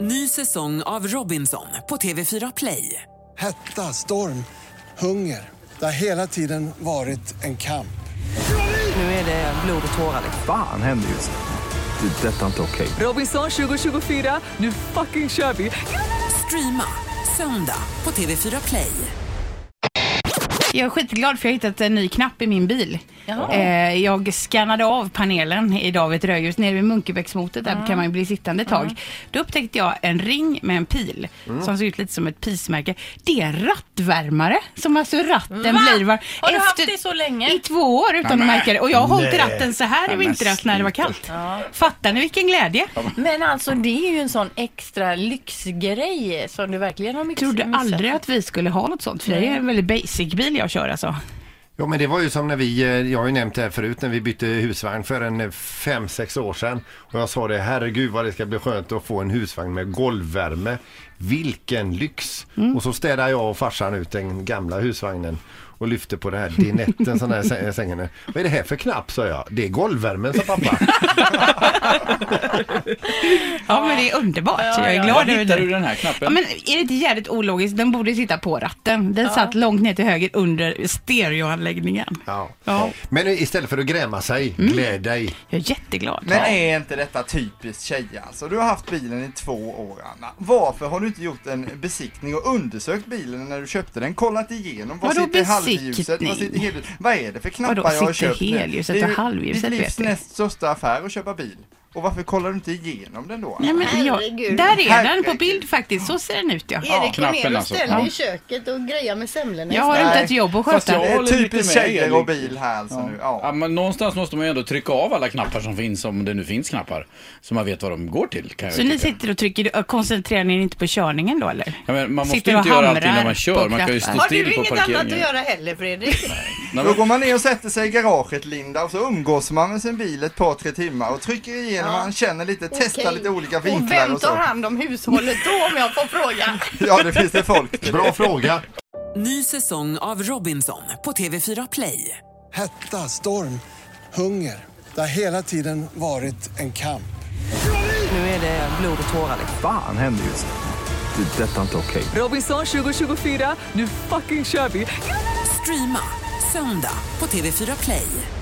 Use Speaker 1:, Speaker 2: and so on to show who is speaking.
Speaker 1: Ny säsong av Robinson på TV4 Play.
Speaker 2: Hetta, storm, hunger. Det har hela tiden varit en kamp.
Speaker 1: Nu är det blod och tårar.
Speaker 3: Fan händer just nu. Det. är Detta är inte okej.
Speaker 1: Robinson 2024, nu fucking kör vi! Streama söndag på TV4 Play.
Speaker 4: Jag är skitglad för jag har hittat en ny knapp i min bil. Eh, jag skannade av panelen idag vid ett rödljus nere vid Munkebäcksmotet.
Speaker 5: Ah.
Speaker 4: Där kan man ju bli sittande ett tag. Då upptäckte jag en ring med en pil
Speaker 5: Mm.
Speaker 4: som såg ut lite som ett pismärke. Det är en rattvärmare som alltså ratten blir var...
Speaker 5: Har du haft det så länge?
Speaker 4: I två år utan att märka det. Och jag har hållit
Speaker 6: nej.
Speaker 4: ratten så här i
Speaker 6: Men
Speaker 4: vintras när det var kallt. Fattar ni vilken glädje?
Speaker 5: Men alltså det är ju en sån extra lyxgrej som du verkligen har mix-
Speaker 4: Jag trodde
Speaker 5: missat.
Speaker 4: aldrig att vi skulle ha något sånt. För det är en väldigt basic bil jag kör alltså.
Speaker 6: Ja men det var ju som när vi, eh, jag har ju nämnt det här förut, när vi bytte husvagn för en 5-6 år sedan. Och jag sa det, herregud vad det ska bli skönt att få en husvagn med golvvärme. Vilken lyx! Och så städade jag och farsan ut den gamla husvagnen och lyfte på den här dinetten, sån här säng- sängen. Vad är det här för knapp? sa jag. Det är golvvärmen, sa pappa.
Speaker 4: Ja men det är underbart. jag är
Speaker 7: Var
Speaker 4: glad över
Speaker 7: hittade
Speaker 4: det.
Speaker 7: du den här
Speaker 4: Ja,
Speaker 7: knappen?
Speaker 4: men är det inte jävligt ologiskt? Den borde sitta på ratten. Den satt långt ner till höger under stereoanläggningen.
Speaker 6: Ja.
Speaker 4: Ja.
Speaker 6: Men istället för att gräma sig, gläd dig.
Speaker 4: Jag är jätteglad.
Speaker 8: Men är inte detta typiskt tjejer? Alltså, du har haft bilen i två år Anna. Varför har du inte gjort en besiktning och undersökt bilen när du köpte den? Kollat igenom, vad
Speaker 4: Vadå
Speaker 8: sitter i halvljuset?
Speaker 4: besiktning?
Speaker 8: Vad sitter i helljuset? Vad är det för knappar
Speaker 4: Vadå,
Speaker 8: jag har
Speaker 4: sitter
Speaker 8: köpt nu?
Speaker 4: helljuset
Speaker 8: Det är
Speaker 4: och
Speaker 8: ju
Speaker 4: halvljuset,
Speaker 8: Ditt
Speaker 4: vet
Speaker 8: livs
Speaker 4: du.
Speaker 8: näst största affär att köpa bil. Och varför kollar du inte igenom den då? Anna?
Speaker 4: Nej, men jag,
Speaker 9: Herregud.
Speaker 4: där är den på
Speaker 8: Herregud.
Speaker 4: bild faktiskt. Så ser den ut ja.
Speaker 9: Erik
Speaker 7: knappen
Speaker 9: går ner och
Speaker 7: alltså.
Speaker 9: ställer
Speaker 7: Ja.
Speaker 9: i köket och grejar med semlorna
Speaker 4: Jag har inte
Speaker 8: Nej.
Speaker 4: ett jobb att
Speaker 7: Fast
Speaker 4: sköta.
Speaker 7: jag-
Speaker 8: det är
Speaker 7: håller mycket
Speaker 8: typiskt
Speaker 7: med
Speaker 8: tjejer
Speaker 7: Erik.
Speaker 8: och bil här alltså nu.
Speaker 7: Ja,
Speaker 8: Ja.
Speaker 7: men någonstans måste man ju ändå trycka av alla knappar som finns, om det nu finns knappar, så man vet vad de går till. Kan jag
Speaker 4: Så ni
Speaker 7: tycka.
Speaker 4: sitter och trycker, och koncentrerar ni er inte på körningen då eller?
Speaker 7: ja, men man måste
Speaker 4: sitter
Speaker 7: ju inte
Speaker 4: och
Speaker 7: göra allting när
Speaker 4: hamrar
Speaker 7: man kör,
Speaker 4: på
Speaker 7: man kan
Speaker 4: knappen.
Speaker 7: ju stå
Speaker 9: Har du
Speaker 7: still på
Speaker 9: inget annat att
Speaker 7: parkeringen.
Speaker 9: göra heller Fredrik?
Speaker 7: Nej,
Speaker 8: Då
Speaker 7: men,
Speaker 8: går man ner och sätter sig i garaget Linda och så umgås man med sin bil ett par tre timmar och trycker igenom, man känner lite, testar
Speaker 9: Okej.
Speaker 8: lite olika
Speaker 9: Och
Speaker 8: vinklar
Speaker 9: vem
Speaker 8: och så.
Speaker 9: tar hand om hushållet då om jag får fråga?
Speaker 8: Ja det finns det folk till.
Speaker 6: Bra fråga!
Speaker 1: Ny säsong av Robinson på TV4 Play.
Speaker 2: Hetta, storm, hunger. Det har hela tiden varit en kamp.
Speaker 3: Fan händer just nu. Det. är Detta är inte okej.
Speaker 1: Robinson 2024, nu fucking kör vi! Streama söndag på TV4 Play.